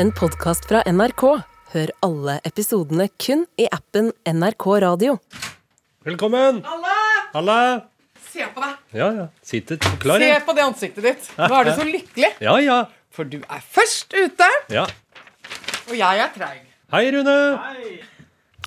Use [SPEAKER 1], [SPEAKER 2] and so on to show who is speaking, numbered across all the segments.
[SPEAKER 1] en podkast fra NRK. Hør alle episodene kun i appen NRK Radio.
[SPEAKER 2] Velkommen! Halla!
[SPEAKER 3] Se på deg.
[SPEAKER 2] Ja, ja. Sitter klar,
[SPEAKER 3] Se
[SPEAKER 2] ja.
[SPEAKER 3] på det ansiktet ditt. Nå er du så lykkelig.
[SPEAKER 2] Ja, ja.
[SPEAKER 3] For du er først ute,
[SPEAKER 2] ja.
[SPEAKER 3] og jeg er treig.
[SPEAKER 2] Hei, Rune!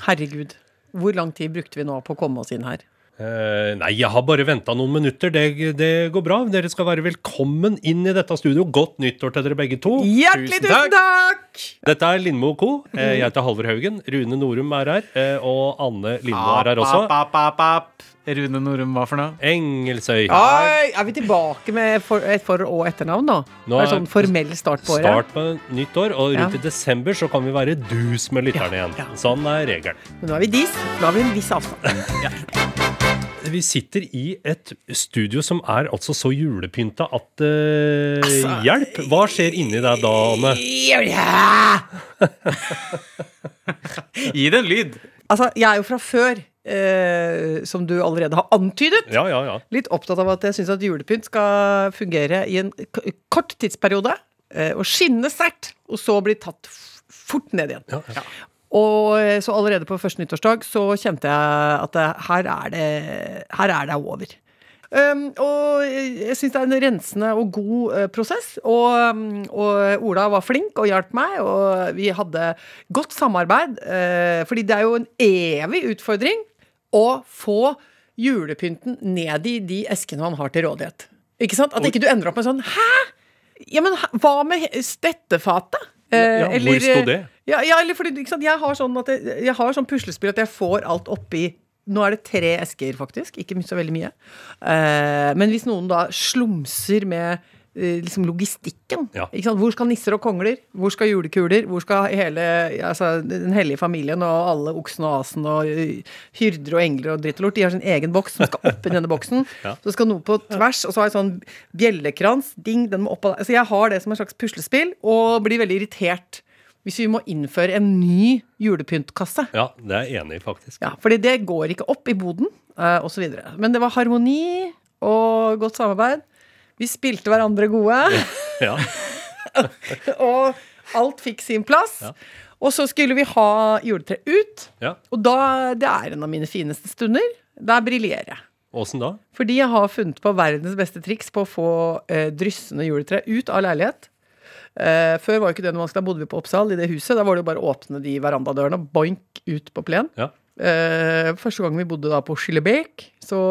[SPEAKER 3] Herregud. Hvor lang tid brukte vi nå på å komme oss inn her?
[SPEAKER 2] Eh, nei, jeg har bare venta noen minutter. Det, det går bra. Dere skal være velkommen inn i dette studio. Godt nyttår til dere begge to.
[SPEAKER 3] Hjertelig tusen takk!
[SPEAKER 2] Dette er Lindmo co. Eh, jeg heter Halvor Haugen. Rune Norum er her. eh, og Anne Lindmo er her også.
[SPEAKER 4] App, app, app, app. Rune Norum, hva for noe?
[SPEAKER 2] Engelsøy.
[SPEAKER 3] Oi, er vi tilbake med for, et for- og etternavn nå?
[SPEAKER 2] Nå
[SPEAKER 3] Det er sånn
[SPEAKER 2] er-
[SPEAKER 3] formell start på året.
[SPEAKER 2] Start med nytt år, og rundt
[SPEAKER 3] Ja.
[SPEAKER 2] i desember så kan vi være dus med lytterne igjen. Sånn er regelen.
[SPEAKER 3] Men nå er vi dis. Nå har vi en viss avstand.
[SPEAKER 2] Vi sitter i et studio som er altså så julepynta at eh,
[SPEAKER 3] Altså,
[SPEAKER 2] Hjelp! Hva skjer inni deg da, Anne?
[SPEAKER 4] Gi det en lyd.
[SPEAKER 3] Altså, jeg er jo fra før, eh, som du allerede har antydet.
[SPEAKER 2] Ja, ja, ja.
[SPEAKER 3] Litt opptatt av at jeg syns at julepynt skal fungere i en k kort tidsperiode, eh, og skinne sterkt, og så bli tatt f fort ned igjen.
[SPEAKER 2] ja, ja.
[SPEAKER 3] Og eh, så allerede på første nyttårsdag så kjente jeg at det, her, er det, her er det over. Um, og jeg syns det er en rensende og god eh, prosess. Og, um, og Ola var flink og hjalp meg, og vi hadde godt samarbeid. eh, fordi det er jo en evig utfordring å få julepynten ned i de eskene man har til rådighet. Ikke sant? At ikke du ender opp med sånn Hæ?! Ja, men hæ- hva med he- stettefatet? Eh,
[SPEAKER 2] Ja, hvor sto det?
[SPEAKER 3] Ja, ja eller fordi, ikke sant, jeg har sånn at jeg, jeg har sånn puslespill at jeg får alt oppi Nå er det tre esker, faktisk. Ikke så veldig mye. Eh, men hvis noen da slumser med eh, liksom logistikken
[SPEAKER 2] Ja.
[SPEAKER 3] ikke sant? Hvor skal nisser og kongler? Hvor skal julekuler? Hvor skal hele altså, den hellige familien og alle oksene og asene og eh, hyrder og engler og dritt og lort? De har sin egen boks som skal opp i denne boksen.
[SPEAKER 2] Ja.
[SPEAKER 3] Så skal noe på tvers, og så har jeg sånn bjellekrans. Ding, den må opp av deg. Altså, jeg har det som et slags puslespill, og blir veldig irritert hvis vi må innføre en ny julepyntkasse.
[SPEAKER 2] Ja, det er jeg enig i, faktisk.
[SPEAKER 3] Ja, fordi det går ikke opp i boden, eh, og så videre. Men det var harmoni og godt samarbeid. Vi spilte hverandre gode,
[SPEAKER 2] Ja.
[SPEAKER 3] og alt fikk sin plass.
[SPEAKER 2] Ja.
[SPEAKER 3] Og så skulle vi ha juletre ut,
[SPEAKER 2] ja.
[SPEAKER 3] og da, det er en av mine fineste stunder. Der briljerer jeg.
[SPEAKER 2] Åssen da?
[SPEAKER 3] Fordi jeg har funnet på verdens beste triks på å få eh, dryssende juletre ut av leilighet. Eh, før var jo ikke det noe vanskelig, da bodde vi på Oppsal, i det huset. Da var det jo bare å åpne de verandadørene og boink ut på plen.
[SPEAKER 2] Ja.
[SPEAKER 3] Eh, første gang vi bodde da på Skillebekk, så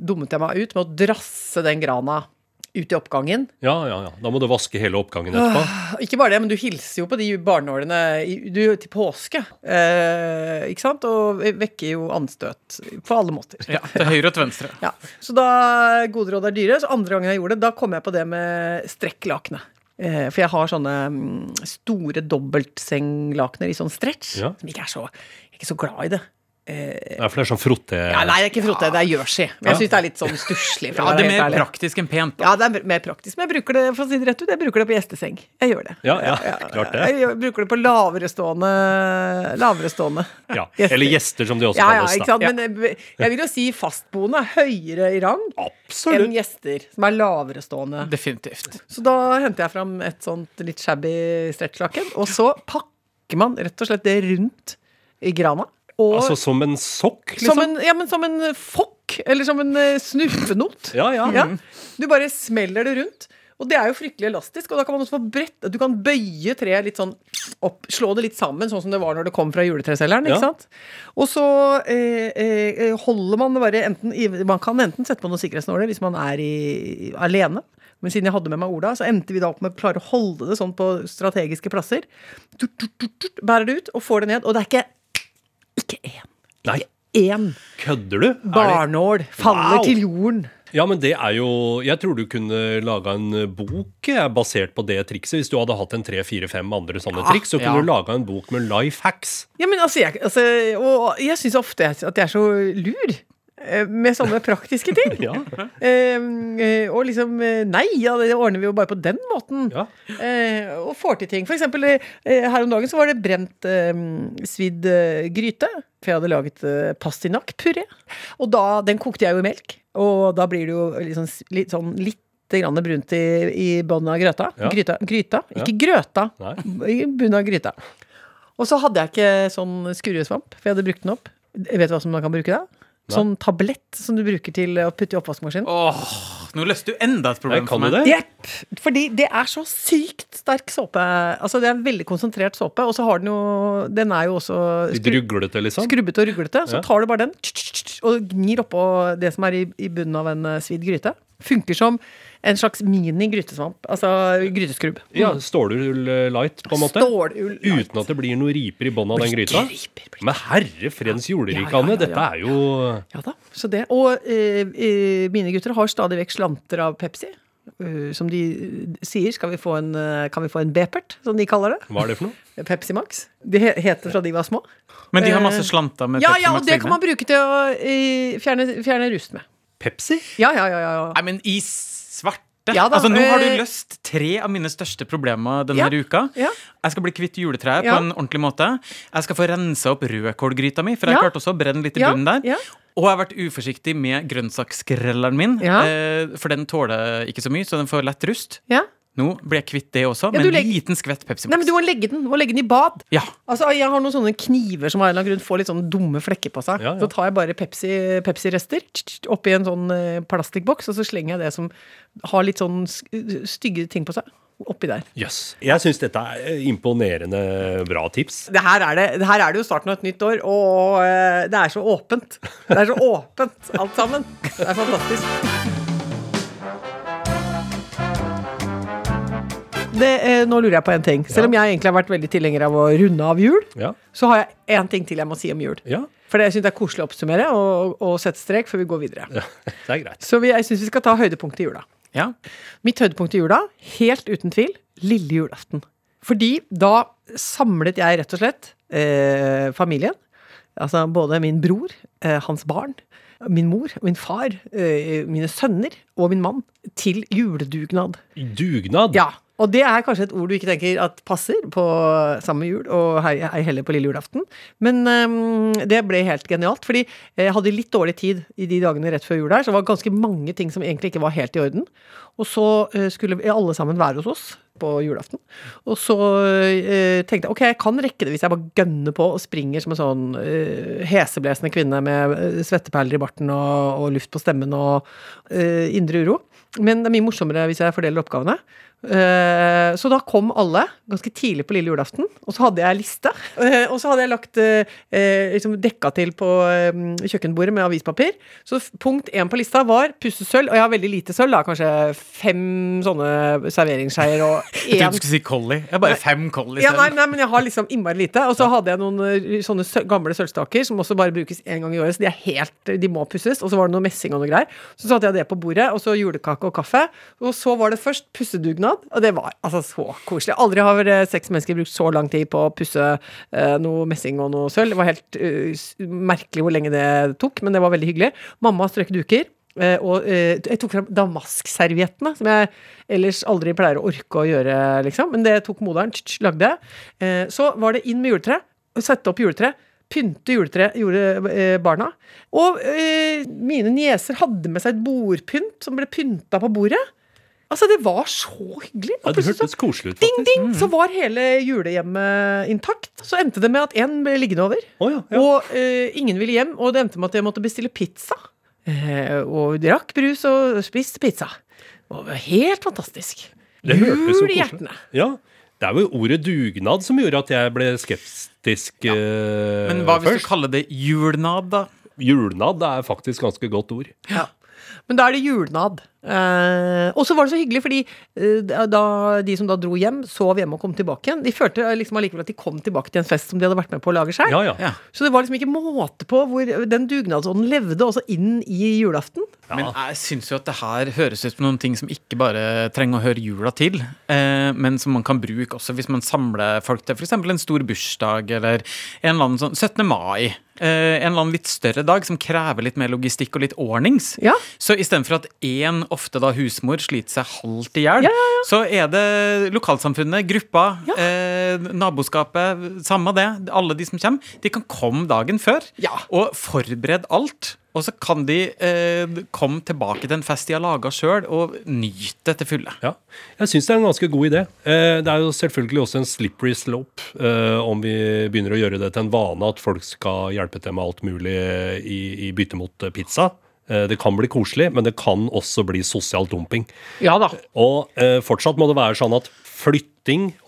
[SPEAKER 3] dummet jeg meg ut med å drasse den grana ut i oppgangen.
[SPEAKER 2] ja, ja, ja. Da må du vaske hele oppgangen etterpå.
[SPEAKER 3] Ikke bare det, men du hilser jo på de barnålene i- du, til påske. Eh, ikke sant? Og vekker jo anstøt på alle måter.
[SPEAKER 4] Ja, Til høyre og til venstre.
[SPEAKER 3] Ja, Så da gode råd er dyre. Så andre gangen jeg gjorde det, da kom jeg på det med strekklakenet. Eh, For jeg har sånne mm, store dobbeltsenglakener i sånn stretch.
[SPEAKER 2] Ja.
[SPEAKER 3] Som ikke er så, jeg er ikke så glad i det.
[SPEAKER 2] Ja, for det er sånn frotte...
[SPEAKER 3] Ja, nei, det er ikke frotte, det er jersey. Men jeg syns det er litt sånn stusslig. for å
[SPEAKER 4] Ja,
[SPEAKER 3] være
[SPEAKER 4] Det er
[SPEAKER 3] helt
[SPEAKER 4] mer
[SPEAKER 3] ærlig.
[SPEAKER 4] praktisk enn pent. da.
[SPEAKER 3] Ja, det er mer praktisk. Men jeg bruker det for å si det rett ut, jeg bruker det på gjesteseng. Jeg gjør det.
[SPEAKER 2] Ja, ja, klart det.
[SPEAKER 3] Jeg gjør- bruker det på laverestående laverestående.
[SPEAKER 2] Ja. Eller gjester, som de også
[SPEAKER 3] Ja, ja,
[SPEAKER 2] kalles.
[SPEAKER 3] ikke
[SPEAKER 2] da.
[SPEAKER 3] sant. Men jeg jeg vil jo si fastboende er høyere i rang enn
[SPEAKER 2] Absolutt.
[SPEAKER 3] gjester som er laverestående.
[SPEAKER 4] Definitivt.
[SPEAKER 3] Så da henter jeg fram et sånt litt shabby stretchlaken, og så pakker man rett og slett det rundt i grana. Og
[SPEAKER 2] Altså som en sokk,
[SPEAKER 3] som,
[SPEAKER 2] liksom.
[SPEAKER 3] en, ja, men som en fokk, eller som en eh, snufenot.
[SPEAKER 2] Ja, ja.
[SPEAKER 3] Ja, Du bare smeller det rundt. Og det er jo fryktelig elastisk, og da kan man også få brett Du kan bøye treet litt sånn opp, slå det litt sammen, sånn som det var når det kom fra juletreselgeren.
[SPEAKER 2] Ja.
[SPEAKER 3] Ikke sant? Og så eh, eh, holder man det bare enten i Man kan enten sette på noen sikkerhetsnåler hvis man er i, alene. Men siden jeg hadde med meg Ola, så endte vi da opp med å klare å holde det sånn på strategiske plasser. Tut, tut, tut, tut, bærer det ut og får det ned. Og det er ikke ikke én.
[SPEAKER 2] Nei,
[SPEAKER 3] Én
[SPEAKER 2] kødder du? Er det-
[SPEAKER 3] barnål faller
[SPEAKER 2] Wow.
[SPEAKER 3] til jorden.
[SPEAKER 2] Ja, men det er jo Jeg tror du kunne laga en bok eh, basert på det trikset. Hvis du hadde hatt en tre-fire-fem andre sånne triks, så kunne
[SPEAKER 4] ja.
[SPEAKER 2] du laga en bok med life hacks.
[SPEAKER 3] Ja, men altså, jeg, altså, og jeg syns ofte at jeg er så lur eh, med sånne praktiske ting.
[SPEAKER 2] Ja.
[SPEAKER 3] Eh, og liksom eh, Nei, ja, det ordner vi jo bare på den måten.
[SPEAKER 2] Ja.
[SPEAKER 3] Eh, og får til ting. For eksempel eh, her om dagen så var det brent eh, svidd eh, gryte. For jeg hadde laget eh, pastinak-puré. Og da, den kokte jeg jo i melk. Og da blir det jo litt sånn, litt sånn litt litt grann brunt i, i bunnen av grøta.
[SPEAKER 2] Ja.
[SPEAKER 3] Gryta. gryta. Ikke grøta.
[SPEAKER 2] Nei.
[SPEAKER 3] I bunnen av gryta. Og så hadde jeg ikke sånn skurresvamp, for jeg hadde brukt den opp. Vet du hva som man kan bruke da? Sånn tablett som du bruker til å putte i oppvaskmaskinen.
[SPEAKER 4] Åh, nå løste du enda et
[SPEAKER 2] Nei,
[SPEAKER 4] problem for
[SPEAKER 2] kan du
[SPEAKER 4] meg.
[SPEAKER 2] det?
[SPEAKER 3] Jepp. Fordi det er så sykt sterk såpe. Altså, det er veldig konsentrert såpe, og så har den jo Den er jo også
[SPEAKER 2] De
[SPEAKER 3] skru,
[SPEAKER 2] druglete, liksom?
[SPEAKER 3] skrubbete og ruglete. Så
[SPEAKER 2] Ja.
[SPEAKER 3] tar du bare den tsk, tsk, tsk, og gnir oppå det som er i, i bunnen av en eh, svidd gryte. Funker som en slags mini-grytesvamp. Altså gryteskrubb.
[SPEAKER 2] Ja, Stålull eh, light, på en måte?
[SPEAKER 3] Stålull light.
[SPEAKER 2] Uten at det blir noen riper i bånn av den gryta? Men herre frens julerike,
[SPEAKER 3] Ja, ja, ja,
[SPEAKER 2] Anne,
[SPEAKER 3] ja.
[SPEAKER 2] dette er jo
[SPEAKER 3] Ja da. Så det. Og eh, eh, mine gutter har stadig vekk slanter av Pepsi. Eh, som de eh, sier, skal vi få en, eh, kan vi få en Bepert, som de kaller det.
[SPEAKER 2] Hva er det for noe?
[SPEAKER 3] Pepsi Max. Det he- het det fra de var små.
[SPEAKER 4] Men de har
[SPEAKER 3] Eh,
[SPEAKER 4] masse slanter med
[SPEAKER 3] Ja,
[SPEAKER 4] Pepsi
[SPEAKER 3] ja, og
[SPEAKER 4] Max
[SPEAKER 3] det
[SPEAKER 4] egne.
[SPEAKER 3] kan man bruke til å eh, fjerne, fjerne rust med.
[SPEAKER 2] Pepsi?
[SPEAKER 3] Ja, ja, ja. ja, ja.
[SPEAKER 4] Nei, men i svarte!
[SPEAKER 3] Ja da,
[SPEAKER 4] altså, nå har du
[SPEAKER 3] eh,
[SPEAKER 4] løst tre av mine største problemer denne
[SPEAKER 3] Ja,
[SPEAKER 4] her uka.
[SPEAKER 3] ja.
[SPEAKER 4] Jeg skal bli kvitt juletreet
[SPEAKER 3] Ja.
[SPEAKER 4] på en ordentlig måte. Jeg skal få rensa opp rødkålgryta mi, for jeg
[SPEAKER 3] Ja.
[SPEAKER 4] klarte også å brenne litt i
[SPEAKER 3] Ja,
[SPEAKER 4] bunnen der.
[SPEAKER 3] ja.
[SPEAKER 4] Og jeg har vært uforsiktig med grønnsakskrelleren min,
[SPEAKER 3] Ja.
[SPEAKER 4] eh, for den tåler ikke så mye, så den får lett rust.
[SPEAKER 3] ja.
[SPEAKER 4] Nå blir jeg kvitt det også,
[SPEAKER 3] Ja,
[SPEAKER 4] med
[SPEAKER 3] du
[SPEAKER 4] en
[SPEAKER 3] legger-
[SPEAKER 4] liten skvett Pepsi Max.
[SPEAKER 3] Nei, men du må legge den. Du må legge den i bad.
[SPEAKER 4] Ja.
[SPEAKER 3] Altså, Jeg har noen sånne kniver som av en eller annen grunn får litt sånne dumme flekker på seg.
[SPEAKER 2] Ja, ja.
[SPEAKER 3] Så tar jeg bare Pepsi- Pepsi-rester Pepsi oppi en sånn eh, plastikkboks, og så slenger jeg det som har litt sånn s- stygge ting på seg, oppi der.
[SPEAKER 2] Jøss. Yes. Jeg syns dette er eh, imponerende bra tips.
[SPEAKER 3] Det her, er det, det her er det jo starten av et nytt år, og eh, det er så åpent. Det er så åpent, alt sammen. Det er fantastisk. Det, eh, nå lurer jeg på en ting. Selv om jeg egentlig har vært veldig tilhenger av å runde av jul,
[SPEAKER 2] Ja.
[SPEAKER 3] så har jeg én ting til jeg må si om jul.
[SPEAKER 2] ja.
[SPEAKER 3] For det syns jeg er koselig å oppsummere og, og sette strek før vi går videre.
[SPEAKER 2] Det er greit.
[SPEAKER 3] Så vi, jeg syns vi skal ta høydepunktet i jula.
[SPEAKER 4] ja.
[SPEAKER 3] Mitt høydepunkt i jula, helt uten tvil, lille julaften. Fordi da samlet jeg rett og slett eh, familien. Altså både min bror, eh, hans barn, min mor, min far, eh, mine sønner og min mann til juledugnad.
[SPEAKER 2] Dugnad.
[SPEAKER 3] Ja, og det er kanskje et ord du ikke tenker at passer på samme jul, og hei hei heller på lille julaften. Men øhm, det ble helt genialt, fordi jeg hadde litt dårlig tid i de dagene rett før jul der, så det var ganske mange ting som egentlig ikke var helt i orden. Og så øh, skulle vi alle sammen være hos oss på julaften. Og så øh, tenkte jeg ok, jeg kan rekke det hvis jeg bare gønner på og springer som en sånn øh, heseblesende kvinne med øh, svetteperler i barten og, og luft på stemmen og øh, indre uro. Men det er mye morsommere hvis jeg fordeler oppgavene. Eh, Så da kom alle ganske tidlig på lille julaften, og så hadde jeg liste. Eh, Og så hadde jeg lagt eh, eh, liksom dekka til på eh, kjøkkenbordet med avispapir. Så f- punkt én på lista var pussesølv, og jeg har veldig lite sølv, da, kanskje fem sånne serveringsskeier og
[SPEAKER 4] Jeg trodde
[SPEAKER 3] én
[SPEAKER 4] du skulle si Collie. Jeg har bare fem Collie
[SPEAKER 3] ja,
[SPEAKER 4] selv.
[SPEAKER 3] nei, nei, men jeg har liksom innmari lite. Og så hadde jeg noen eh, sånne sø gamle sølvstaker som også bare brukes én gang i året, så de er helt eh, De må pusses. Og så var det noe messing og noe greier. Så satte jeg det på bordet, og så julekake og kaffe. Og så var det først pussedugnad, og det var altså så koselig. Aldri har eh, seks mennesker brukt så lang tid på å pusse eh, noe messing og noe sølv. Det var helt eh, s- merkelig hvor lenge det tok, men det var veldig hyggelig. Mamma strøk duker. Eh, og eh, jeg tok fram damaskserviettene, som jeg ellers aldri pleier å orke å gjøre, liksom. Men det tok moderen, tsk, tsk, lagde. Eh, så var det inn med juletre, sette opp juletre, pynte juletre, gjorde eh, barna. Og eh, mine nieser hadde med seg et bordpynt som ble pynta på bordet. Altså, det var så hyggelig. Og
[SPEAKER 2] Ja, det
[SPEAKER 3] plutselig så-
[SPEAKER 2] hørtes koselig ut, Mm.
[SPEAKER 3] Ding,
[SPEAKER 2] faktisk.
[SPEAKER 3] ding! Så var hele julehjemmet intakt. Så endte det med at én ble liggende over.
[SPEAKER 2] Å ja, ja.
[SPEAKER 3] Og eh, ingen ville hjem, og det endte med at jeg måtte bestille pizza. Eh, og vi drakk brus og spiste pizza. Og det var helt fantastisk.
[SPEAKER 2] Det hørtes jo
[SPEAKER 3] Jul i
[SPEAKER 2] koselig
[SPEAKER 3] hjertene.
[SPEAKER 2] ut. Ja. Det er jo ordet dugnad som gjorde at jeg ble skeptisk eh,
[SPEAKER 4] Men hva hvis du
[SPEAKER 2] først.
[SPEAKER 4] kaller det julnad, da?
[SPEAKER 2] Julnad er faktisk ganske godt ord.
[SPEAKER 3] Ja. Men da er det julenad. Eh, og så var det så hyggelig, fordi eh, da, de som da dro hjem, sov hjemme og kom tilbake igjen. De følte liksom allikevel at de kom tilbake til en fest som de hadde vært med på å lage sjøl.
[SPEAKER 2] Ja, ja.
[SPEAKER 4] Ja.
[SPEAKER 3] Så det var liksom ikke måte på hvor den dugnadsånden levde også inn i julaften.
[SPEAKER 4] Men jeg syns jo at det her høres ut som noen ting som ikke bare trenger å høre jula til, eh, men som man kan bruke også hvis man samler folk til f.eks. en stor bursdag eller en eller annen sånn 17. mai. Eh, en eller annen litt større dag som krever litt mer logistikk og litt ordnings.
[SPEAKER 3] Ja.
[SPEAKER 4] Så istedenfor at én, ofte da husmor, sliter seg halvt i hjel,
[SPEAKER 3] Ja, ja, ja.
[SPEAKER 4] så er det lokalsamfunnet, gruppa,
[SPEAKER 3] Ja.
[SPEAKER 4] eh, naboskapet, samme det, alle de som kommer, de kan komme dagen før
[SPEAKER 3] Ja.
[SPEAKER 4] og forberede alt. Og så kan de eh, komme tilbake til en fest de har laga sjøl, og nyte det til fulle.
[SPEAKER 2] Ja, jeg syns det er en ganske god idé. Eh, Det er jo selvfølgelig også en slippery slope eh, om vi begynner å gjøre det til en vane at folk skal hjelpe til med alt mulig i, i bytte mot eh, pizza. Eh, Det kan bli koselig, men det kan også bli sosial dumping.
[SPEAKER 3] Ja da.
[SPEAKER 2] Og eh, fortsatt må det være sånn at flytting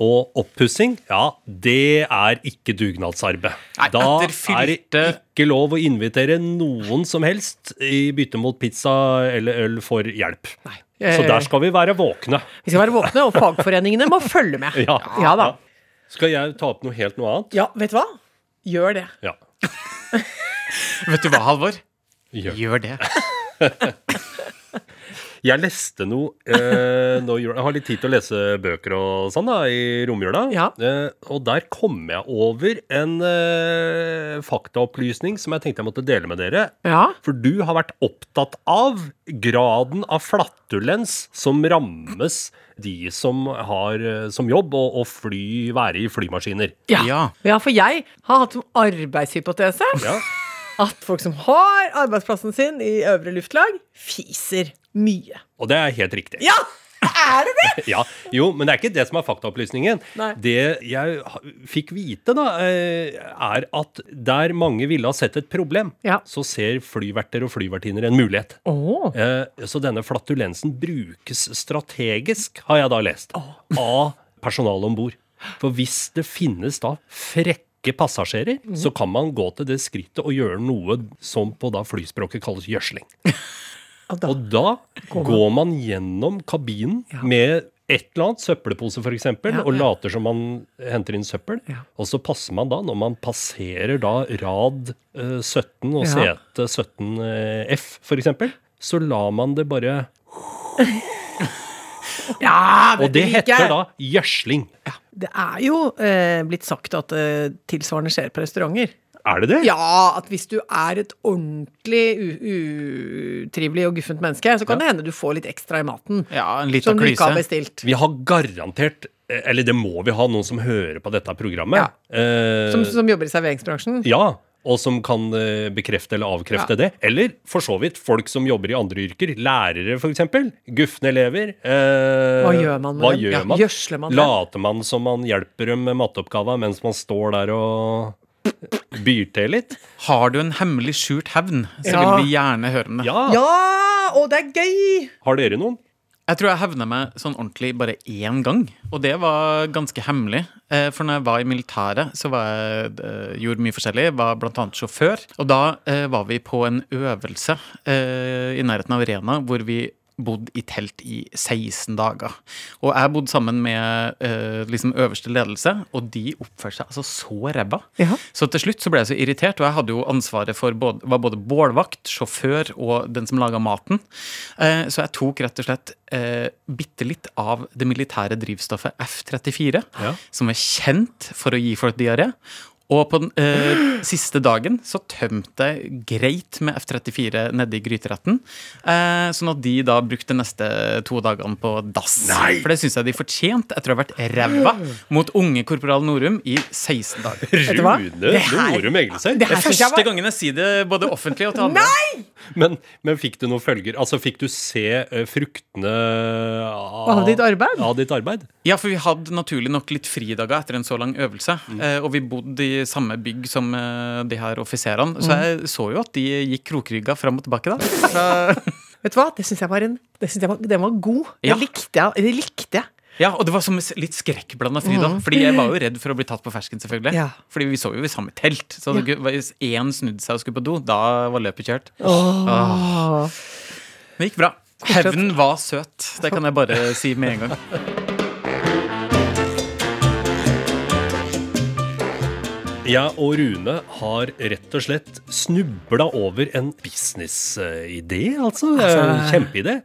[SPEAKER 2] og oppussing, ja, det er ikke dugnadsarbeid.
[SPEAKER 4] Nei,
[SPEAKER 2] da
[SPEAKER 4] etter fylte-
[SPEAKER 2] er det ikke lov å invitere noen som helst i bytte mot pizza eller øl for hjelp. Så
[SPEAKER 3] Eh.
[SPEAKER 2] der skal vi være våkne.
[SPEAKER 3] Vi skal være våkne, og fagforeningene må følge med.
[SPEAKER 2] Ja.
[SPEAKER 3] ja da.
[SPEAKER 2] Skal jeg ta opp noe helt noe annet?
[SPEAKER 3] Ja, vet du hva? Gjør det.
[SPEAKER 2] Ja.
[SPEAKER 4] Vet du hva, Halvor?
[SPEAKER 2] Gjør.
[SPEAKER 4] Gjør det.
[SPEAKER 2] Jeg leste noe eh, nå i jula. Jeg har litt tid til å lese bøker og sånn da, i romjula.
[SPEAKER 3] Ja.
[SPEAKER 2] Eh, og der kom jeg over en eh, faktaopplysning som jeg tenkte jeg måtte dele med dere.
[SPEAKER 3] Ja.
[SPEAKER 2] For du har vært opptatt av graden av flatulens som rammes de som har eh, som jobb å å fly, være i flymaskiner.
[SPEAKER 3] Ja.
[SPEAKER 4] Ja.
[SPEAKER 3] ja, for jeg har hatt som arbeidshypotese
[SPEAKER 2] Ja.
[SPEAKER 3] at folk som har arbeidsplassen sin i øvre luftlag, fiser mye.
[SPEAKER 2] Og det er helt riktig.
[SPEAKER 3] Ja! Er det det?!
[SPEAKER 2] Ja, jo, men det er ikke det som er faktaopplysningen.
[SPEAKER 3] Nei.
[SPEAKER 2] Det jeg ha- fikk vite, da, eh, er at der mange ville ha sett et problem,
[SPEAKER 3] Ja.
[SPEAKER 2] så ser flyverter og flyvertinner en mulighet.
[SPEAKER 3] Åh.
[SPEAKER 2] Eh, Så denne flatulensen brukes strategisk, har jeg da lest, av personalet om bord. For hvis det finnes da frekke passasjerer,
[SPEAKER 3] Mhm.
[SPEAKER 2] så kan man gå til det skrittet og gjøre noe som på da flyspråket kalles gjødsling.
[SPEAKER 3] Og da-
[SPEAKER 2] Og da går man gjennom kabinen med et eller annet, søppelpose f.eks., eksempel, og later som man henter inn søppel.
[SPEAKER 3] Ja.
[SPEAKER 2] Og så passer man da, når man passerer da rad eh, 17 og
[SPEAKER 3] Ja.
[SPEAKER 2] sete eh, 17F f.eks., så lar man det bare
[SPEAKER 3] Ja,
[SPEAKER 2] Og det
[SPEAKER 3] liker
[SPEAKER 2] heter
[SPEAKER 3] jeg.
[SPEAKER 2] da gjødsling.
[SPEAKER 3] Det er jo eh, blitt sagt at eh, tilsvarende skjer på restauranter.
[SPEAKER 2] Er det det?
[SPEAKER 3] Ja, at hvis du er et ordentlig u- utrivelig og guffent menneske, så kan det hende du får litt ekstra i maten.
[SPEAKER 4] Ja, en liten
[SPEAKER 3] Som du ikke har
[SPEAKER 4] klyse.
[SPEAKER 3] bestilt.
[SPEAKER 2] Vi har garantert eh, Eller det må vi ha, noen som hører på dette programmet. Eh,
[SPEAKER 3] Som, som jobber i serveringsbransjen.
[SPEAKER 2] Ja, og som kan eh, bekrefte eller avkrefte det. Eller for så vidt folk som jobber i andre yrker. Lærere, f.eks. Gufne elever. eh,
[SPEAKER 3] Hva gjør man med
[SPEAKER 2] hva
[SPEAKER 3] dem?
[SPEAKER 2] gjør
[SPEAKER 3] Ja,
[SPEAKER 2] man?
[SPEAKER 3] gjødsler man dem?
[SPEAKER 2] Later man som man hjelper dem med matteoppgava mens man står der og byr til litt?
[SPEAKER 4] Har du en hemmelig skjult hevn, så
[SPEAKER 3] Ja.
[SPEAKER 4] vil vi gjerne høre om det.
[SPEAKER 2] Ja.
[SPEAKER 3] Ja, og det er gøy!
[SPEAKER 2] Har dere noen?
[SPEAKER 4] Jeg tror jeg hevna meg sånn ordentlig bare én gang, og det var ganske hemmelig. Eh, For når jeg var i militæret, så var jeg, eh, gjorde mye forskjellig. Var bl.a. sjåfør. Og da eh, var vi på en øvelse eh, i nærheten av Rena hvor vi bodd i telt i 16 dager. Og jeg bodde sammen med eh, liksom øverste ledelse, og de oppførte seg altså så ræva.
[SPEAKER 3] Ja.
[SPEAKER 4] Så til slutt så ble jeg så irritert, og jeg hadde jo ansvaret for både, var både bålvakt, sjåfør og den som laga maten. Eh, så jeg tok rett og slett eh, bitte litt av det militære drivstoffet F-34,
[SPEAKER 2] Ja.
[SPEAKER 4] som er kjent for å gi folk diaré. Og på den eh, siste dagen så tømte jeg greit med F-34 nedi gryteretten. Eh, sånn at de da brukte neste to dagene på dass. For det syns jeg de fortjente etter å ha vært ræva mot unge korporal Norum i 16 dager.
[SPEAKER 3] Vet du hva?
[SPEAKER 2] Rune Norum Egilsen.
[SPEAKER 3] det
[SPEAKER 4] Det
[SPEAKER 3] her
[SPEAKER 4] er
[SPEAKER 3] synes jeg
[SPEAKER 4] første
[SPEAKER 3] var-
[SPEAKER 4] gangen jeg sier det både offentlig og til andre.
[SPEAKER 2] Men, men fikk du noen følger? Altså, fikk du se eh, fruktene av,
[SPEAKER 3] Av ditt arbeid?
[SPEAKER 2] Av ditt arbeid?
[SPEAKER 4] Ja, for vi hadde naturlig nok litt fridager etter en så lang øvelse. eh, Og vi bodde i samme bygg som eh, de her offiserene. Så jeg så jo at de gikk krokrygga fram og tilbake, da.
[SPEAKER 3] Vet du hva? Det syns jeg var en det synes jeg var, Den var god.
[SPEAKER 4] Ja.
[SPEAKER 3] Det likte jeg. Det likte jeg.
[SPEAKER 4] Ja, Og det var som en s- litt skrekkblanda fryd òg. Fordi jeg var jo redd for å bli tatt på fersken, selvfølgelig.
[SPEAKER 3] Ja.
[SPEAKER 4] Fordi vi så jo i samme telt. Så det gu- hvis én snudde seg og skulle på do, da var løpet kjørt. Åh. Det gikk bra. Hevnen var søt. Det kan jeg bare si med en gang.
[SPEAKER 2] Jeg og Rune har rett og slett snubla over en businessidé, altså. Det er en Kjempeidé.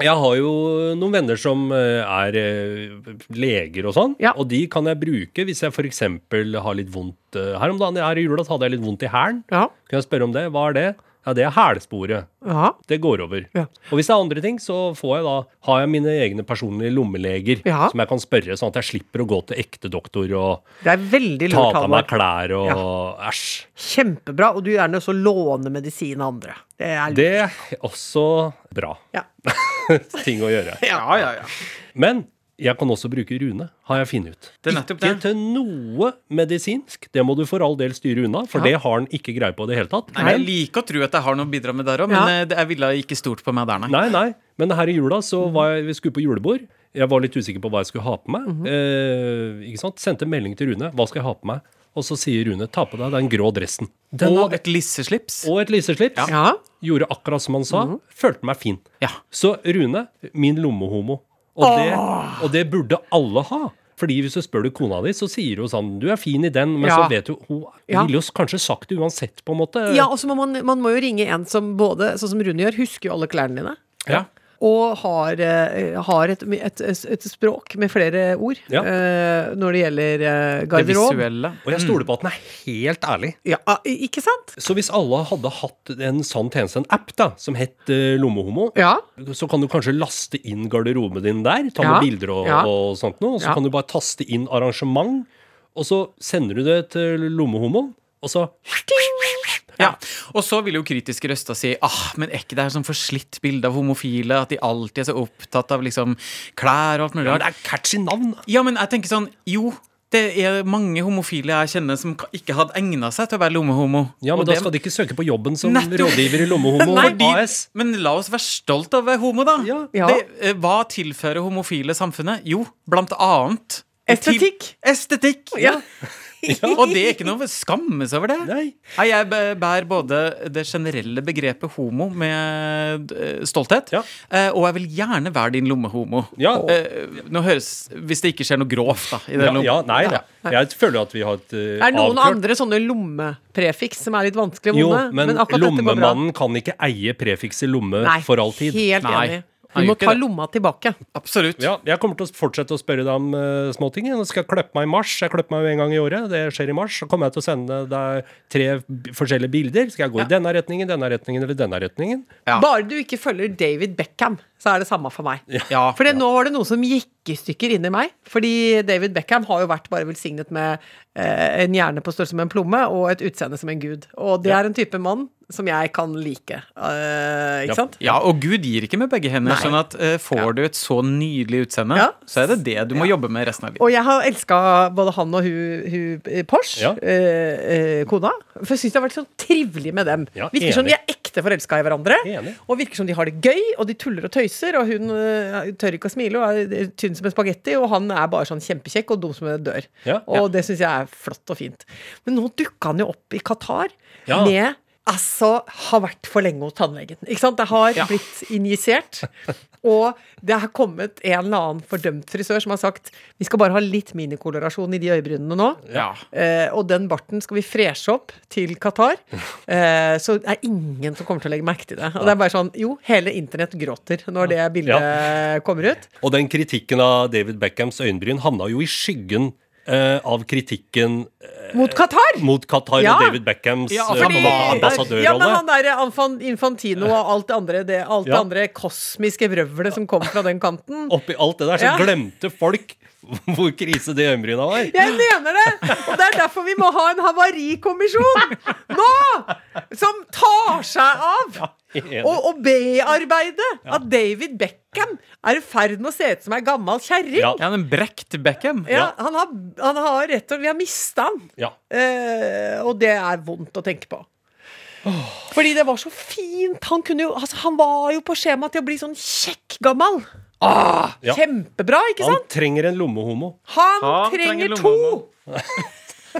[SPEAKER 2] Jeg har jo noen venner som eh, er eh, leger og sånn,
[SPEAKER 3] Ja.
[SPEAKER 2] og de kan jeg bruke hvis jeg f.eks. har litt vondt eh, her om dagen. Her i jula så hadde jeg litt vondt i hælen.
[SPEAKER 3] Ja.
[SPEAKER 2] Kan jeg spørre om det? Hva er det? Ja, det er hælsporet.
[SPEAKER 3] Ja.
[SPEAKER 2] Det går over.
[SPEAKER 3] Ja.
[SPEAKER 2] Og hvis det er andre ting, så får jeg da, har jeg mine egne personlige lommeleger
[SPEAKER 3] Ja.
[SPEAKER 2] som jeg kan spørre, sånn at jeg slipper å gå til ekte doktor og
[SPEAKER 3] Det er veldig
[SPEAKER 2] ta
[SPEAKER 3] lurt,
[SPEAKER 2] av meg
[SPEAKER 3] Halvor.
[SPEAKER 2] klær og æsj.
[SPEAKER 3] Kjempebra. Og du gjerne også låne medisin av andre. Det er lurt.
[SPEAKER 2] Det er også bra
[SPEAKER 3] Ja.
[SPEAKER 2] ting å gjøre.
[SPEAKER 4] Ja, ja, ja.
[SPEAKER 2] Men jeg kan også bruke rune, har jeg funnet ut.
[SPEAKER 4] Det er nettopp
[SPEAKER 2] Ikke
[SPEAKER 4] det.
[SPEAKER 2] til noe medisinsk. Det må du for all del styre unna, for det har han ikke greie på i det hele tatt.
[SPEAKER 4] Nei, jeg liker å tro at jeg har noe å bidra med der òg, men
[SPEAKER 3] Ja.
[SPEAKER 4] eh, det- jeg ville ikke stort på meg der, nei.
[SPEAKER 2] Nei, nei. Men her i jula så var jeg, vi skulle på julebord. Jeg var litt usikker på hva jeg skulle ha på meg.
[SPEAKER 4] Mhm.
[SPEAKER 2] eh, ikke sant? Sendte en melding til Rune. Hva skal jeg ha på meg? Og så sier Rune ta på deg den grå dressen. Den
[SPEAKER 4] Og
[SPEAKER 2] hadde,
[SPEAKER 4] et lisseslips.
[SPEAKER 2] og et lyseslips.
[SPEAKER 3] Ja. Mhm.
[SPEAKER 2] Gjorde akkurat som han sa. Følte meg fin.
[SPEAKER 4] Ja.
[SPEAKER 2] Så Rune, min lommehomo. Og det, og det burde alle ha. Fordi hvis du spør du kona di, så sier hun sånn Du er fin i den, men
[SPEAKER 3] Ja.
[SPEAKER 2] så vet du Hun
[SPEAKER 3] Ja.
[SPEAKER 2] ville jo kanskje sagt det uansett, på en måte.
[SPEAKER 3] ja, og så må man, man må jo ringe en som både, sånn som Rune gjør, husker jo alle klærne dine.
[SPEAKER 4] Ja.
[SPEAKER 3] Og har, eh, har et, et, et språk med flere ord
[SPEAKER 2] Ja.
[SPEAKER 3] eh, når det gjelder eh,
[SPEAKER 4] Det
[SPEAKER 3] garderob.
[SPEAKER 4] visuelle.
[SPEAKER 2] Og jeg stoler på at han er helt ærlig.
[SPEAKER 3] Ja, i- ikke sant?
[SPEAKER 2] Så hvis alle hadde hatt en sann tjeneste, en app da, som het eh, Lommehomo,
[SPEAKER 3] Ja.
[SPEAKER 2] så kan du kanskje laste inn garderoben din der, ta
[SPEAKER 3] Ja,
[SPEAKER 2] med bilder og,
[SPEAKER 3] ja.
[SPEAKER 2] og sånt noe, og så
[SPEAKER 3] Ja.
[SPEAKER 2] kan du bare taste inn arrangement, og så sender du det til Lommehomoen, og så
[SPEAKER 4] Ja. Og så vil jo kritiske røster si ah, men er ikke det her sånn forslitt bilde av homofile? At de alltid er så opptatt av liksom klær og alt mulig
[SPEAKER 2] Ja,
[SPEAKER 4] rart?
[SPEAKER 2] det er catchy navn. da.
[SPEAKER 4] Ja, men jeg tenker sånn Jo, det er mange homofile jeg kjenner som ka- ikke hadde egna seg til å være lommehomo.
[SPEAKER 2] Ja, men
[SPEAKER 4] Og
[SPEAKER 2] da
[SPEAKER 4] det-
[SPEAKER 2] skal de ikke søke på jobben som
[SPEAKER 4] Nettopp.
[SPEAKER 2] rådgiver i Lommehomo
[SPEAKER 4] Nei,
[SPEAKER 2] AS.
[SPEAKER 4] de, men la oss være stolt av å være homo, da.
[SPEAKER 2] Ja.
[SPEAKER 3] Ja.
[SPEAKER 4] Det, eh, hva tilfører homofile samfunnet? Jo, blant annet
[SPEAKER 3] Estetikk.
[SPEAKER 4] Til- Estetikk!
[SPEAKER 3] Ja.
[SPEAKER 4] Og det er ikke noe å skamme seg over det.
[SPEAKER 2] Nei.
[SPEAKER 4] Nei, jeg bæ- bærer både det generelle begrepet homo med eh, stolthet,
[SPEAKER 2] Ja.
[SPEAKER 4] eh, og jeg vil gjerne være din lommehomo.
[SPEAKER 2] Ja.
[SPEAKER 4] Eh, Nå høres Hvis det ikke skjer noe grovt, da. I den
[SPEAKER 2] Ja,
[SPEAKER 4] lommen.
[SPEAKER 2] ja, nei da. Jeg føler at vi har et eh,
[SPEAKER 3] Er det noen
[SPEAKER 2] avklart-
[SPEAKER 3] andre sånne lommeprefiks som er litt vanskelig å
[SPEAKER 2] Jo,
[SPEAKER 3] vonde?
[SPEAKER 2] men,
[SPEAKER 3] akkurat dette går bra.
[SPEAKER 2] lommemannen kan ikke eie prefikset lomme
[SPEAKER 3] Nei,
[SPEAKER 2] for all tid.
[SPEAKER 3] Helt
[SPEAKER 4] Nei,
[SPEAKER 3] enig.
[SPEAKER 4] han
[SPEAKER 3] Du
[SPEAKER 4] gjør
[SPEAKER 3] må
[SPEAKER 4] ikke
[SPEAKER 3] ta
[SPEAKER 4] det.
[SPEAKER 3] lomma tilbake.
[SPEAKER 4] Absolutt.
[SPEAKER 2] Ja, jeg kommer til å fortsette å spørre deg om eh, småting. Nå skal jeg klippe meg i mars. Jeg klipper meg jo en gang i året. Det skjer i mars. Så kommer jeg til å sende deg tre b- forskjellige bilder. Skal jeg gå i denne retningen, denne retningen eller denne retningen?
[SPEAKER 4] Ja.
[SPEAKER 3] Bare du ikke følger David Beckham, så er det samme for meg.
[SPEAKER 4] Ja,
[SPEAKER 3] For det- nå var det noe som gikk i stykker inni meg. Fordi David Beckham har jo vært bare velsignet med eh, en hjerne på størrelse med en plomme og et utseende som en gud. Og det er en type mann som jeg kan like. Eh, ikke
[SPEAKER 2] Ja.
[SPEAKER 3] sant?
[SPEAKER 4] Ja, og Gud gir ikke med begge hender.
[SPEAKER 3] Nei.
[SPEAKER 4] Sånn at eh, får du et så nydelig utseende,
[SPEAKER 3] Ja.
[SPEAKER 4] så er det det du må jobbe med resten av livet.
[SPEAKER 3] Og jeg har elska både han og hun, hun Porsche,
[SPEAKER 2] Ja.
[SPEAKER 3] eh, eh, kona. For jeg syns det har vært sånn trivelig med dem.
[SPEAKER 2] Ja,
[SPEAKER 3] virker som de
[SPEAKER 2] enig.
[SPEAKER 3] er ekte forelska i hverandre.
[SPEAKER 2] Enig.
[SPEAKER 3] Og virker som de har det gøy, og de tuller og tøyser. Og hun eh, tør ikke å smile og er eh, tynn som en spagetti, og han er bare sånn kjempekjekk og dum som en dør.
[SPEAKER 2] Ja,
[SPEAKER 3] og det syns jeg er flott og fint. Men nå dukka han jo opp i Qatar
[SPEAKER 2] Ja.
[SPEAKER 3] med Altså, har vært for lenge hos tannlegen. Ikke sant? Det har blitt injisert. Og det har kommet en eller annen fordømt frisør som har sagt vi skal bare ha litt minikolorasjon i de øyebrynene nå.
[SPEAKER 4] Ja.
[SPEAKER 3] Eh, og den barten skal vi freshe opp til Qatar. Eh, så det er ingen som kommer til å legge merke til det. Og det er bare sånn, jo, hele internett gråter når det bildet kommer ut.
[SPEAKER 2] Og den kritikken av David Beckhams øyenbryn havna jo i skyggen eh, av kritikken
[SPEAKER 3] Mot Qatar!
[SPEAKER 2] mot Qatar
[SPEAKER 3] Ja.
[SPEAKER 2] og David Beckhams
[SPEAKER 4] Ja,
[SPEAKER 2] eh,
[SPEAKER 4] fordi-
[SPEAKER 2] ambassadørrolle.
[SPEAKER 3] ja, men han der Anfan- Infantino og alt det andre, det, alt det
[SPEAKER 2] Ja.
[SPEAKER 3] andre kosmiske vrøvlet som kom fra den kanten.
[SPEAKER 2] Oppi alt det der så
[SPEAKER 3] Ja.
[SPEAKER 2] glemte folk hvor krise de øyenbryna var.
[SPEAKER 3] Jeg mener det! Og det er derfor vi må ha en havarikommisjon nå! Som tar seg av
[SPEAKER 2] enig.
[SPEAKER 3] og, og bearbeide at David Beckham er i ferd med å se ut som ei gammal kjerring.
[SPEAKER 2] Ja.
[SPEAKER 3] Ja.
[SPEAKER 4] Ja, den brekt Beckham.
[SPEAKER 3] han, har, han har rett og slett Vi har mista han.
[SPEAKER 2] Ja.
[SPEAKER 3] Eh, og det er vondt å tenke på. Fordi det var så fint. Han, kunne jo, altså, han var jo på skjema til å bli sånn kjekk gammal. Ah,
[SPEAKER 2] Ja.
[SPEAKER 3] Kjempebra, ikke sant?
[SPEAKER 2] Han trenger en lommehomo.
[SPEAKER 3] Han,
[SPEAKER 4] Han trenger
[SPEAKER 3] trenger,
[SPEAKER 4] lommehomo.
[SPEAKER 3] to!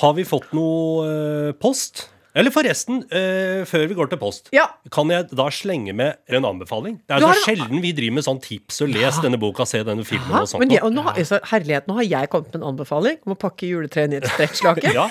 [SPEAKER 2] Har vi fått noe eh, post? Eller forresten, eh, før vi går til post,
[SPEAKER 3] Ja.
[SPEAKER 2] kan jeg da slenge med en anbefaling? Det er
[SPEAKER 3] Du
[SPEAKER 2] så
[SPEAKER 3] har en-
[SPEAKER 2] sjelden vi driver med sånn tips og les denne boka, se denne filmen
[SPEAKER 3] Hæ?
[SPEAKER 2] og sånt.
[SPEAKER 3] Men jeg,
[SPEAKER 2] noe.
[SPEAKER 3] og nå, altså, herlighet, nå har jeg kommet med en anbefaling om å pakke juletreet ned i et stretchlake.
[SPEAKER 2] Ja,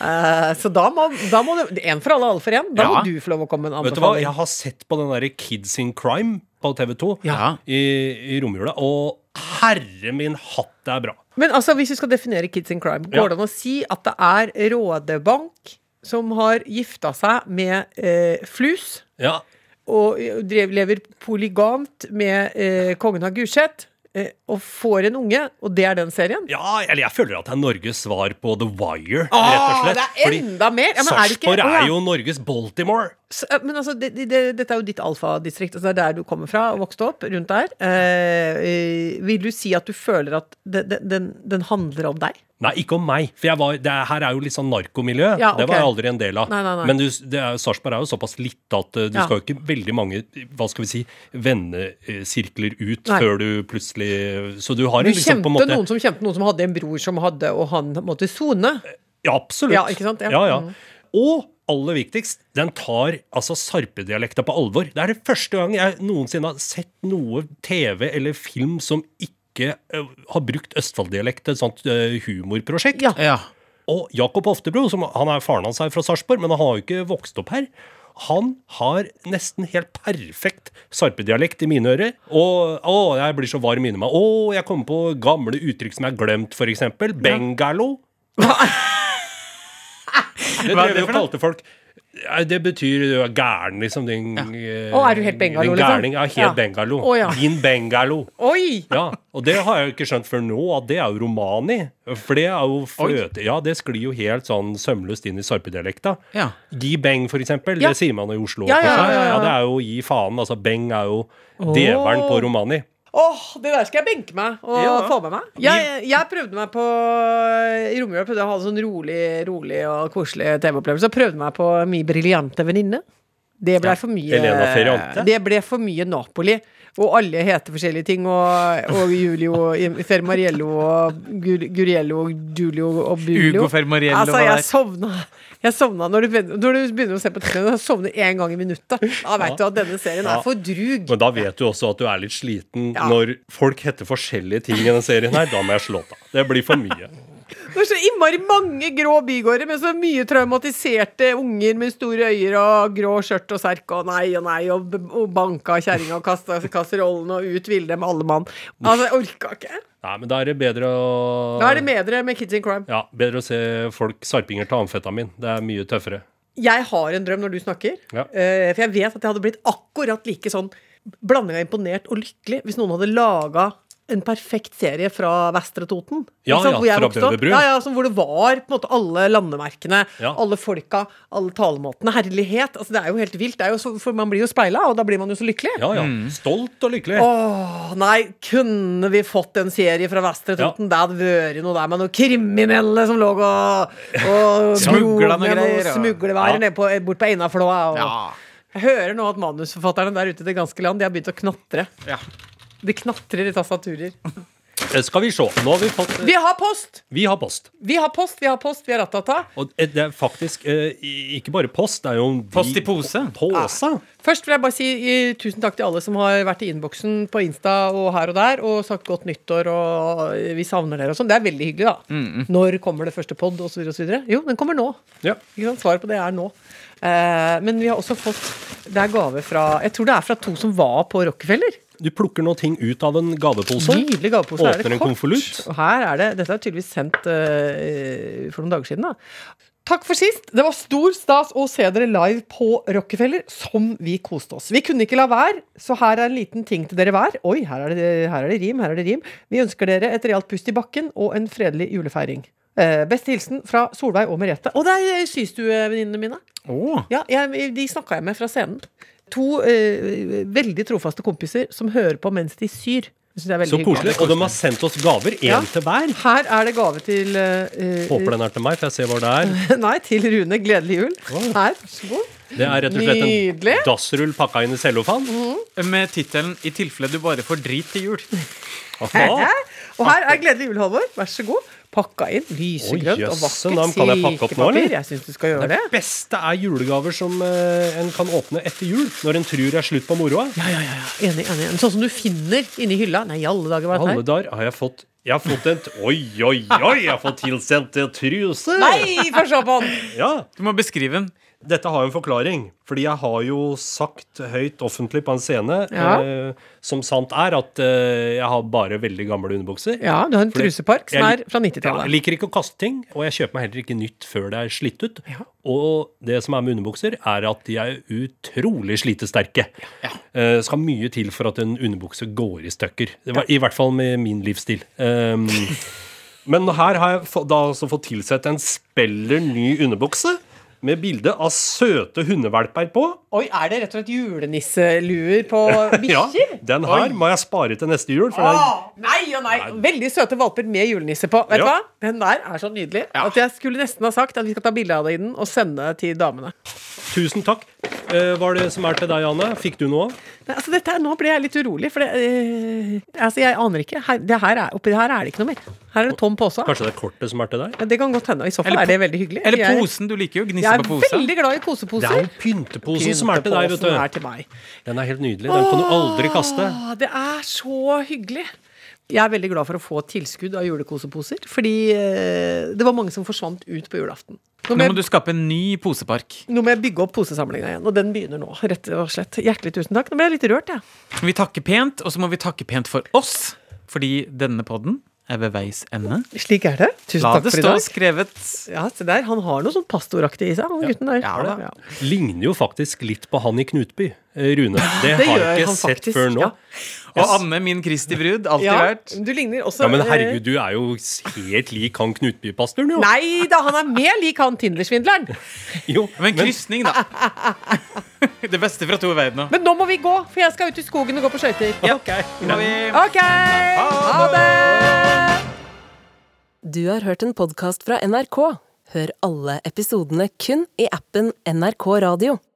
[SPEAKER 3] Eh, så da må, da må det En for alle, alle for en. Da
[SPEAKER 4] Ja.
[SPEAKER 3] må du få lov å komme med en
[SPEAKER 2] vet du hva?
[SPEAKER 3] anbefaling.
[SPEAKER 2] Jeg har sett på den derre Kids in Crime på TV2
[SPEAKER 4] Ja.
[SPEAKER 2] i, i romjula, og herre min hatt, det er bra.
[SPEAKER 3] Men altså, hvis vi skal definere Kids in Crime,
[SPEAKER 2] Ja.
[SPEAKER 3] går det an å si at det er rådebank, som har gifta seg med eh, Flus,
[SPEAKER 2] Ja.
[SPEAKER 3] og drev, lever polygamt med eh, kongen av Gulset, eh, og får en unge, og det er den serien?
[SPEAKER 2] ja, eller jeg føler at det er Norges svar på The Wire, rett og slett.
[SPEAKER 3] det er enda mer! Ja, men er det ikke-
[SPEAKER 2] Sarpsborg
[SPEAKER 3] Å, ja.
[SPEAKER 2] er jo Norges Baltimore.
[SPEAKER 3] S- eh, Men altså, det, det, det, dette er jo ditt alfadistrikt. Altså det er der du kommer fra og vokste opp. rundt der eh, eh, Vil du si at du føler at det, det, den, den handler om deg?
[SPEAKER 2] Nei, ikke om meg. For jeg var, det er- her er jo litt sånn narkomiljø.
[SPEAKER 3] Ja,
[SPEAKER 2] Det
[SPEAKER 3] ok.
[SPEAKER 2] var jeg aldri en del av.
[SPEAKER 3] Nei, nei, nei.
[SPEAKER 2] Men du, det er, jo- Sarpsborg er jo såpass lite at eh, du
[SPEAKER 3] Ja.
[SPEAKER 2] skal jo ikke veldig mange hva skal vi si, vennesirkler ut
[SPEAKER 3] Nei.
[SPEAKER 2] før du plutselig Så du har
[SPEAKER 3] Du
[SPEAKER 2] en liksom på en
[SPEAKER 3] kjente
[SPEAKER 2] måte
[SPEAKER 3] noen som kjente noen som hadde en bror som hadde, og han måtte sone.
[SPEAKER 2] Ja, absolutt.
[SPEAKER 3] Ja, ikke sant? Ja. Mm.
[SPEAKER 2] Ja. Ja, Og aller viktigst, den tar altså sarpedialekta på alvor. Det er det første gang jeg noensinne har sett noe TV eller film som ikke eh, har brukt Østfold-dialekt til et sånt eh, humorprosjekt.
[SPEAKER 3] Ja.
[SPEAKER 4] Ja.
[SPEAKER 2] Og Jakob Oftebro, som, han er faren hans her fra Sarpsborg, men han har jo ikke vokst opp her. Han har nesten helt perfekt sarpedialekt i mine ører. Og å, jeg blir så varm inni meg. Å, jeg kommer på gamle uttrykk som jeg har glemt, f.eks. Bengalo. det
[SPEAKER 4] Hva er det
[SPEAKER 2] drev vi
[SPEAKER 4] for
[SPEAKER 2] og
[SPEAKER 4] noe?
[SPEAKER 2] kalte folk Nei, Det betyr du er gæren, liksom. Din, eh,
[SPEAKER 3] Å, er du helt bengalo,
[SPEAKER 2] din
[SPEAKER 3] liksom?
[SPEAKER 2] gærning. Ja, helt
[SPEAKER 3] Ja.
[SPEAKER 2] bengalo.
[SPEAKER 3] Å, ja.
[SPEAKER 2] Din bengalo.
[SPEAKER 3] Oi!
[SPEAKER 2] Ja, og det har jeg jo ikke skjønt før nå, at det er jo romani. For det er jo fløte... Ja, det sklir jo helt sånn sømløst inn i sarpedialekta.
[SPEAKER 4] Ja.
[SPEAKER 2] Gi beng, for eksempel.
[SPEAKER 3] Ja.
[SPEAKER 2] Det sier man jo i Oslo.
[SPEAKER 3] Ja,
[SPEAKER 2] for
[SPEAKER 3] ja,
[SPEAKER 2] seg.
[SPEAKER 3] ja, ja, ja.
[SPEAKER 2] det er jo gi faen. Altså, beng er jo djevelen på romani.
[SPEAKER 3] Åh, Det der skal jeg benke meg og
[SPEAKER 2] Ja.
[SPEAKER 3] få med meg. Jeg, jeg prøvde meg på I romjula prøvde jeg å ha en sånn rolig rolig og koselig TV-opplevelse. Og prøvde meg på Min briljante venninne. Det ble for mye
[SPEAKER 2] Elena Ferrante.
[SPEAKER 3] Det ble for mye Napoli. Og alle heter forskjellige ting. Og, og Julio og Fermariello og Gur, Guriello og Giulio og Bulio.
[SPEAKER 4] Ugo Fermariello
[SPEAKER 3] altså,
[SPEAKER 4] var der.
[SPEAKER 3] jeg sovna. Jeg sovna når, du, begynner- når du begynner å se på TV, jeg sovner én gang i minuttet. Da veit du at denne serien
[SPEAKER 2] Ja.
[SPEAKER 3] er for drug.
[SPEAKER 2] Men da vet du også at du er litt sliten
[SPEAKER 3] Ja.
[SPEAKER 2] når folk heter forskjellige ting i denne serien her. Da må jeg slå av. Det blir for mye.
[SPEAKER 3] Det er så innmari mange grå bygårder med så mye traumatiserte unger med store øyer og grå skjørt og serk og nei og nei og, b- og banka kjerringa og kasta kasserollen og ut ville dem alle mann. Altså, jeg orka ikke.
[SPEAKER 2] Nei, men da er det bedre å
[SPEAKER 3] Da er det medere med Kids in Crime.
[SPEAKER 2] Ja, bedre å se folk sarpinger ta amfetamin. Det er mye tøffere.
[SPEAKER 3] Jeg har en drøm når du snakker,
[SPEAKER 2] Ja.
[SPEAKER 3] eh, for jeg vet at jeg hadde blitt akkurat like sånn blanding av imponert og lykkelig hvis noen hadde laga en perfekt serie fra Vestre Toten.
[SPEAKER 2] Ja,
[SPEAKER 3] Ikke sant?
[SPEAKER 2] ja,
[SPEAKER 3] hvor jeg
[SPEAKER 2] fra
[SPEAKER 3] vokste opp.
[SPEAKER 2] Bøverbru.
[SPEAKER 3] Ja, ja, som hvor det var på en måte alle landemerkene,
[SPEAKER 2] Ja.
[SPEAKER 3] alle folka, alle talemåtene. Herlighet. Altså, det er jo helt vilt. Det er jo så, for man blir jo speila, og da blir man jo så lykkelig.
[SPEAKER 2] Ja, ja. Stolt og lykkelig.
[SPEAKER 3] Mm. Åh, nei, kunne vi fått en serie fra Vestre Toten? Det hadde vært noe der med noen kriminelle som lå og, og dro
[SPEAKER 4] Smugla noe
[SPEAKER 3] med
[SPEAKER 4] greier, ja.
[SPEAKER 3] smuglevarer
[SPEAKER 2] Ja.
[SPEAKER 3] ned på, bort på Einaflåa. Og...
[SPEAKER 4] Ja.
[SPEAKER 3] Jeg hører nå at manusforfatterne der ute i det ganske land De har begynt å knatre.
[SPEAKER 4] Ja.
[SPEAKER 3] De knatrer i tastaturer.
[SPEAKER 2] Eh, Skal vi se. Nå har vi fått
[SPEAKER 3] Vi har post!
[SPEAKER 2] Vi har post.
[SPEAKER 3] Vi har post, vi har post, vi har ratata.
[SPEAKER 2] Og det er faktisk eh, i- ikke bare post, det er jo en
[SPEAKER 4] Post i pose.
[SPEAKER 2] Pose?
[SPEAKER 3] Først vil jeg bare si eh, tusen takk til alle som har vært i innboksen på Insta og her og der og sagt godt nyttår og eh, vi savner dere og sånn. Det er veldig hyggelig, da. Når kommer det første pod, osv. osv.? Jo, den kommer nå.
[SPEAKER 2] Ja.
[SPEAKER 3] Ikke sant? Svaret på det er nå. Eh, men vi har også fått Det er gave fra Jeg tror det er fra to som var på Rockefeller.
[SPEAKER 2] Du plukker noen ting ut av en gavepose.
[SPEAKER 3] Nydelig gavepose. Her er det
[SPEAKER 2] Åpner en
[SPEAKER 3] kort.
[SPEAKER 2] konvolutt.
[SPEAKER 3] Og her er det Dette er tydeligvis sendt eh, for noen dager siden, da. Takk for sist. Det var stor stas å se dere live på Rockefeller, som vi koste oss. Vi kunne ikke la være, så her er en liten ting til dere hver. Oi, her er det, her er det rim, her er det rim. Vi ønsker dere et realt pust i bakken og en fredelig julefeiring. Eh, beste hilsen fra Solveig og Merete. Og det er systuevenninnene mine.
[SPEAKER 4] Åh.
[SPEAKER 3] Ja, jeg, De snakka jeg med fra scenen. To eh, veldig trofaste kompiser som hører på mens de syr. Det synes jeg er veldig
[SPEAKER 2] Så
[SPEAKER 3] hyggelig.
[SPEAKER 2] koselig. Og de har sendt oss gaver, én
[SPEAKER 3] Ja.
[SPEAKER 2] til hver.
[SPEAKER 3] Her er det gave til eh,
[SPEAKER 2] Håper den er til meg, for jeg ser hva det er.
[SPEAKER 3] Nei, til Rune. Gledelig jul. Her, vær så god.
[SPEAKER 2] Det er rett og slett
[SPEAKER 3] Nydelig. Mm.
[SPEAKER 2] en dassrull pakka inn i cellofan.
[SPEAKER 4] Med tittelen 'I tilfelle du bare får drit til jul'.
[SPEAKER 2] Aha.
[SPEAKER 3] Og her er Gledelig jul, Halvor. Vær så god. Pakka inn lysegrønt
[SPEAKER 2] Oi,
[SPEAKER 3] og
[SPEAKER 2] jøsse
[SPEAKER 3] vakkert
[SPEAKER 2] navn. Kan jeg pakke opp nå,
[SPEAKER 3] silkepapir.
[SPEAKER 2] eller?
[SPEAKER 3] Jeg syns du skal gjøre
[SPEAKER 2] Det
[SPEAKER 3] det.
[SPEAKER 2] beste er julegaver som eh, en kan åpne etter jul, når en tror det er slutt på moroa.
[SPEAKER 3] Enig, enig, enig. Sånn som du finner inni hylla. Nei, i alle dager, var det
[SPEAKER 2] Alle
[SPEAKER 3] her?
[SPEAKER 2] dager har jeg fått Jeg har fått en Oi, oi, oi! Jeg har fått tilsendt en truse!
[SPEAKER 3] Nei, få se på den!
[SPEAKER 2] Ja.
[SPEAKER 4] Du må beskrive den.
[SPEAKER 2] Dette har jo en forklaring, fordi jeg har jo sagt høyt offentlig på en scene,
[SPEAKER 3] Ja.
[SPEAKER 2] eh, som sant er, at eh, jeg har bare veldig gamle underbukser.
[SPEAKER 3] Ja, du har en
[SPEAKER 2] Fordi-
[SPEAKER 3] trusepark som
[SPEAKER 2] Jeg-
[SPEAKER 3] er fra
[SPEAKER 2] Ja, jeg
[SPEAKER 3] 90-tallet.
[SPEAKER 2] liker ikke å kaste ting, og jeg kjøper meg heller ikke nytt før det er slitt ut.
[SPEAKER 3] Ja.
[SPEAKER 2] Og det som er med underbukser, er at de er utrolig slitesterke. Eh, skal mye til for at en underbukse går i stykker. Det var- I hvert fall med min livsstil. Um, men her har jeg få- da altså fått tilsett en speller ny underbukse med bilde av søte hundevalper på.
[SPEAKER 3] Oi, er det rett og slett julenisseluer på
[SPEAKER 2] Ja,
[SPEAKER 3] bikkjer?
[SPEAKER 2] den her må jeg spare til neste jul, for den,
[SPEAKER 3] Åh, nei og nei! Veldig søte valper med julenisse på. Vet du
[SPEAKER 2] Ja.
[SPEAKER 3] hva? Den der er så nydelig at jeg skulle nesten ha sagt at vi skal ta bilde av det i den og sende til damene.
[SPEAKER 2] tusen takk. Eh, hva er det som er til deg, Anne? Fikk du noe?
[SPEAKER 3] Nei, altså dette er, Nå ble jeg litt urolig, for det, eh, altså jeg aner ikke. Her, det her er, oppi her er det ikke noe mer. Her er det tom pose.
[SPEAKER 2] Kanskje det er kortet som er til deg?
[SPEAKER 3] Ja, Det kan godt hende. og I så fall
[SPEAKER 4] Eller
[SPEAKER 3] er det veldig hyggelig.
[SPEAKER 4] Eller
[SPEAKER 3] Jeg-
[SPEAKER 4] posen. Du liker jo å gnisse
[SPEAKER 3] Jeg er
[SPEAKER 4] på pose.
[SPEAKER 3] veldig glad i
[SPEAKER 2] Det er
[SPEAKER 3] poseposer.
[SPEAKER 2] jo pynteposen som er til deg,
[SPEAKER 3] Pynteposen er
[SPEAKER 2] vet du.
[SPEAKER 3] til meg.
[SPEAKER 2] Den er helt nydelig. Den kan du aldri kaste.
[SPEAKER 3] Åh, Det er så hyggelig. Jeg er veldig glad for å få tilskudd av julekoseposer, fordi eh, det var mange som forsvant ut på julaften. Nå
[SPEAKER 4] Nå
[SPEAKER 3] må
[SPEAKER 4] må
[SPEAKER 3] jeg,
[SPEAKER 4] du skape en ny posepark.
[SPEAKER 3] nå må jeg bygge opp posesamlinga igjen, og den begynner nå. rett og slett. Hjertelig tusen takk. Nå ble jeg litt rørt, jeg.
[SPEAKER 4] Vi takker pent, og så må vi takke pent for oss. Fordi denne podden er ved veis ende.
[SPEAKER 3] Slik er det. Tusen
[SPEAKER 4] La
[SPEAKER 3] takk
[SPEAKER 4] det
[SPEAKER 3] for i
[SPEAKER 4] stå
[SPEAKER 3] dag.
[SPEAKER 4] skrevet.
[SPEAKER 3] Ja, se der. Han har noe sånn pastoraktig i seg, han gutten der.
[SPEAKER 4] Ja, da.
[SPEAKER 2] Ligner jo faktisk litt på han i Knutby, eh, Rune. Det
[SPEAKER 3] Det
[SPEAKER 2] har jeg
[SPEAKER 3] gjør han
[SPEAKER 2] ikke sett
[SPEAKER 3] faktisk,
[SPEAKER 2] før nå.
[SPEAKER 3] ja.
[SPEAKER 4] Og Anne, min Kristi brud. Alltid
[SPEAKER 3] Ja,
[SPEAKER 4] vært.
[SPEAKER 3] du ligner også
[SPEAKER 2] Ja, Men
[SPEAKER 3] eh,
[SPEAKER 2] herregud, du er jo helt lik han Knutby-pastoren, jo.
[SPEAKER 3] Nei da, han er mer lik han Tinder-svindleren.
[SPEAKER 2] jo.
[SPEAKER 4] Men krysning, da. Det beste fra to verdener.
[SPEAKER 3] Men nå må vi gå, for jeg skal ut i skogen og gå på skøyter.
[SPEAKER 2] Ok, greit.
[SPEAKER 4] Da vi-
[SPEAKER 3] OK! Ha det!
[SPEAKER 1] Du har hørt en podkast fra NRK. Hør alle episodene kun i appen NRK Radio.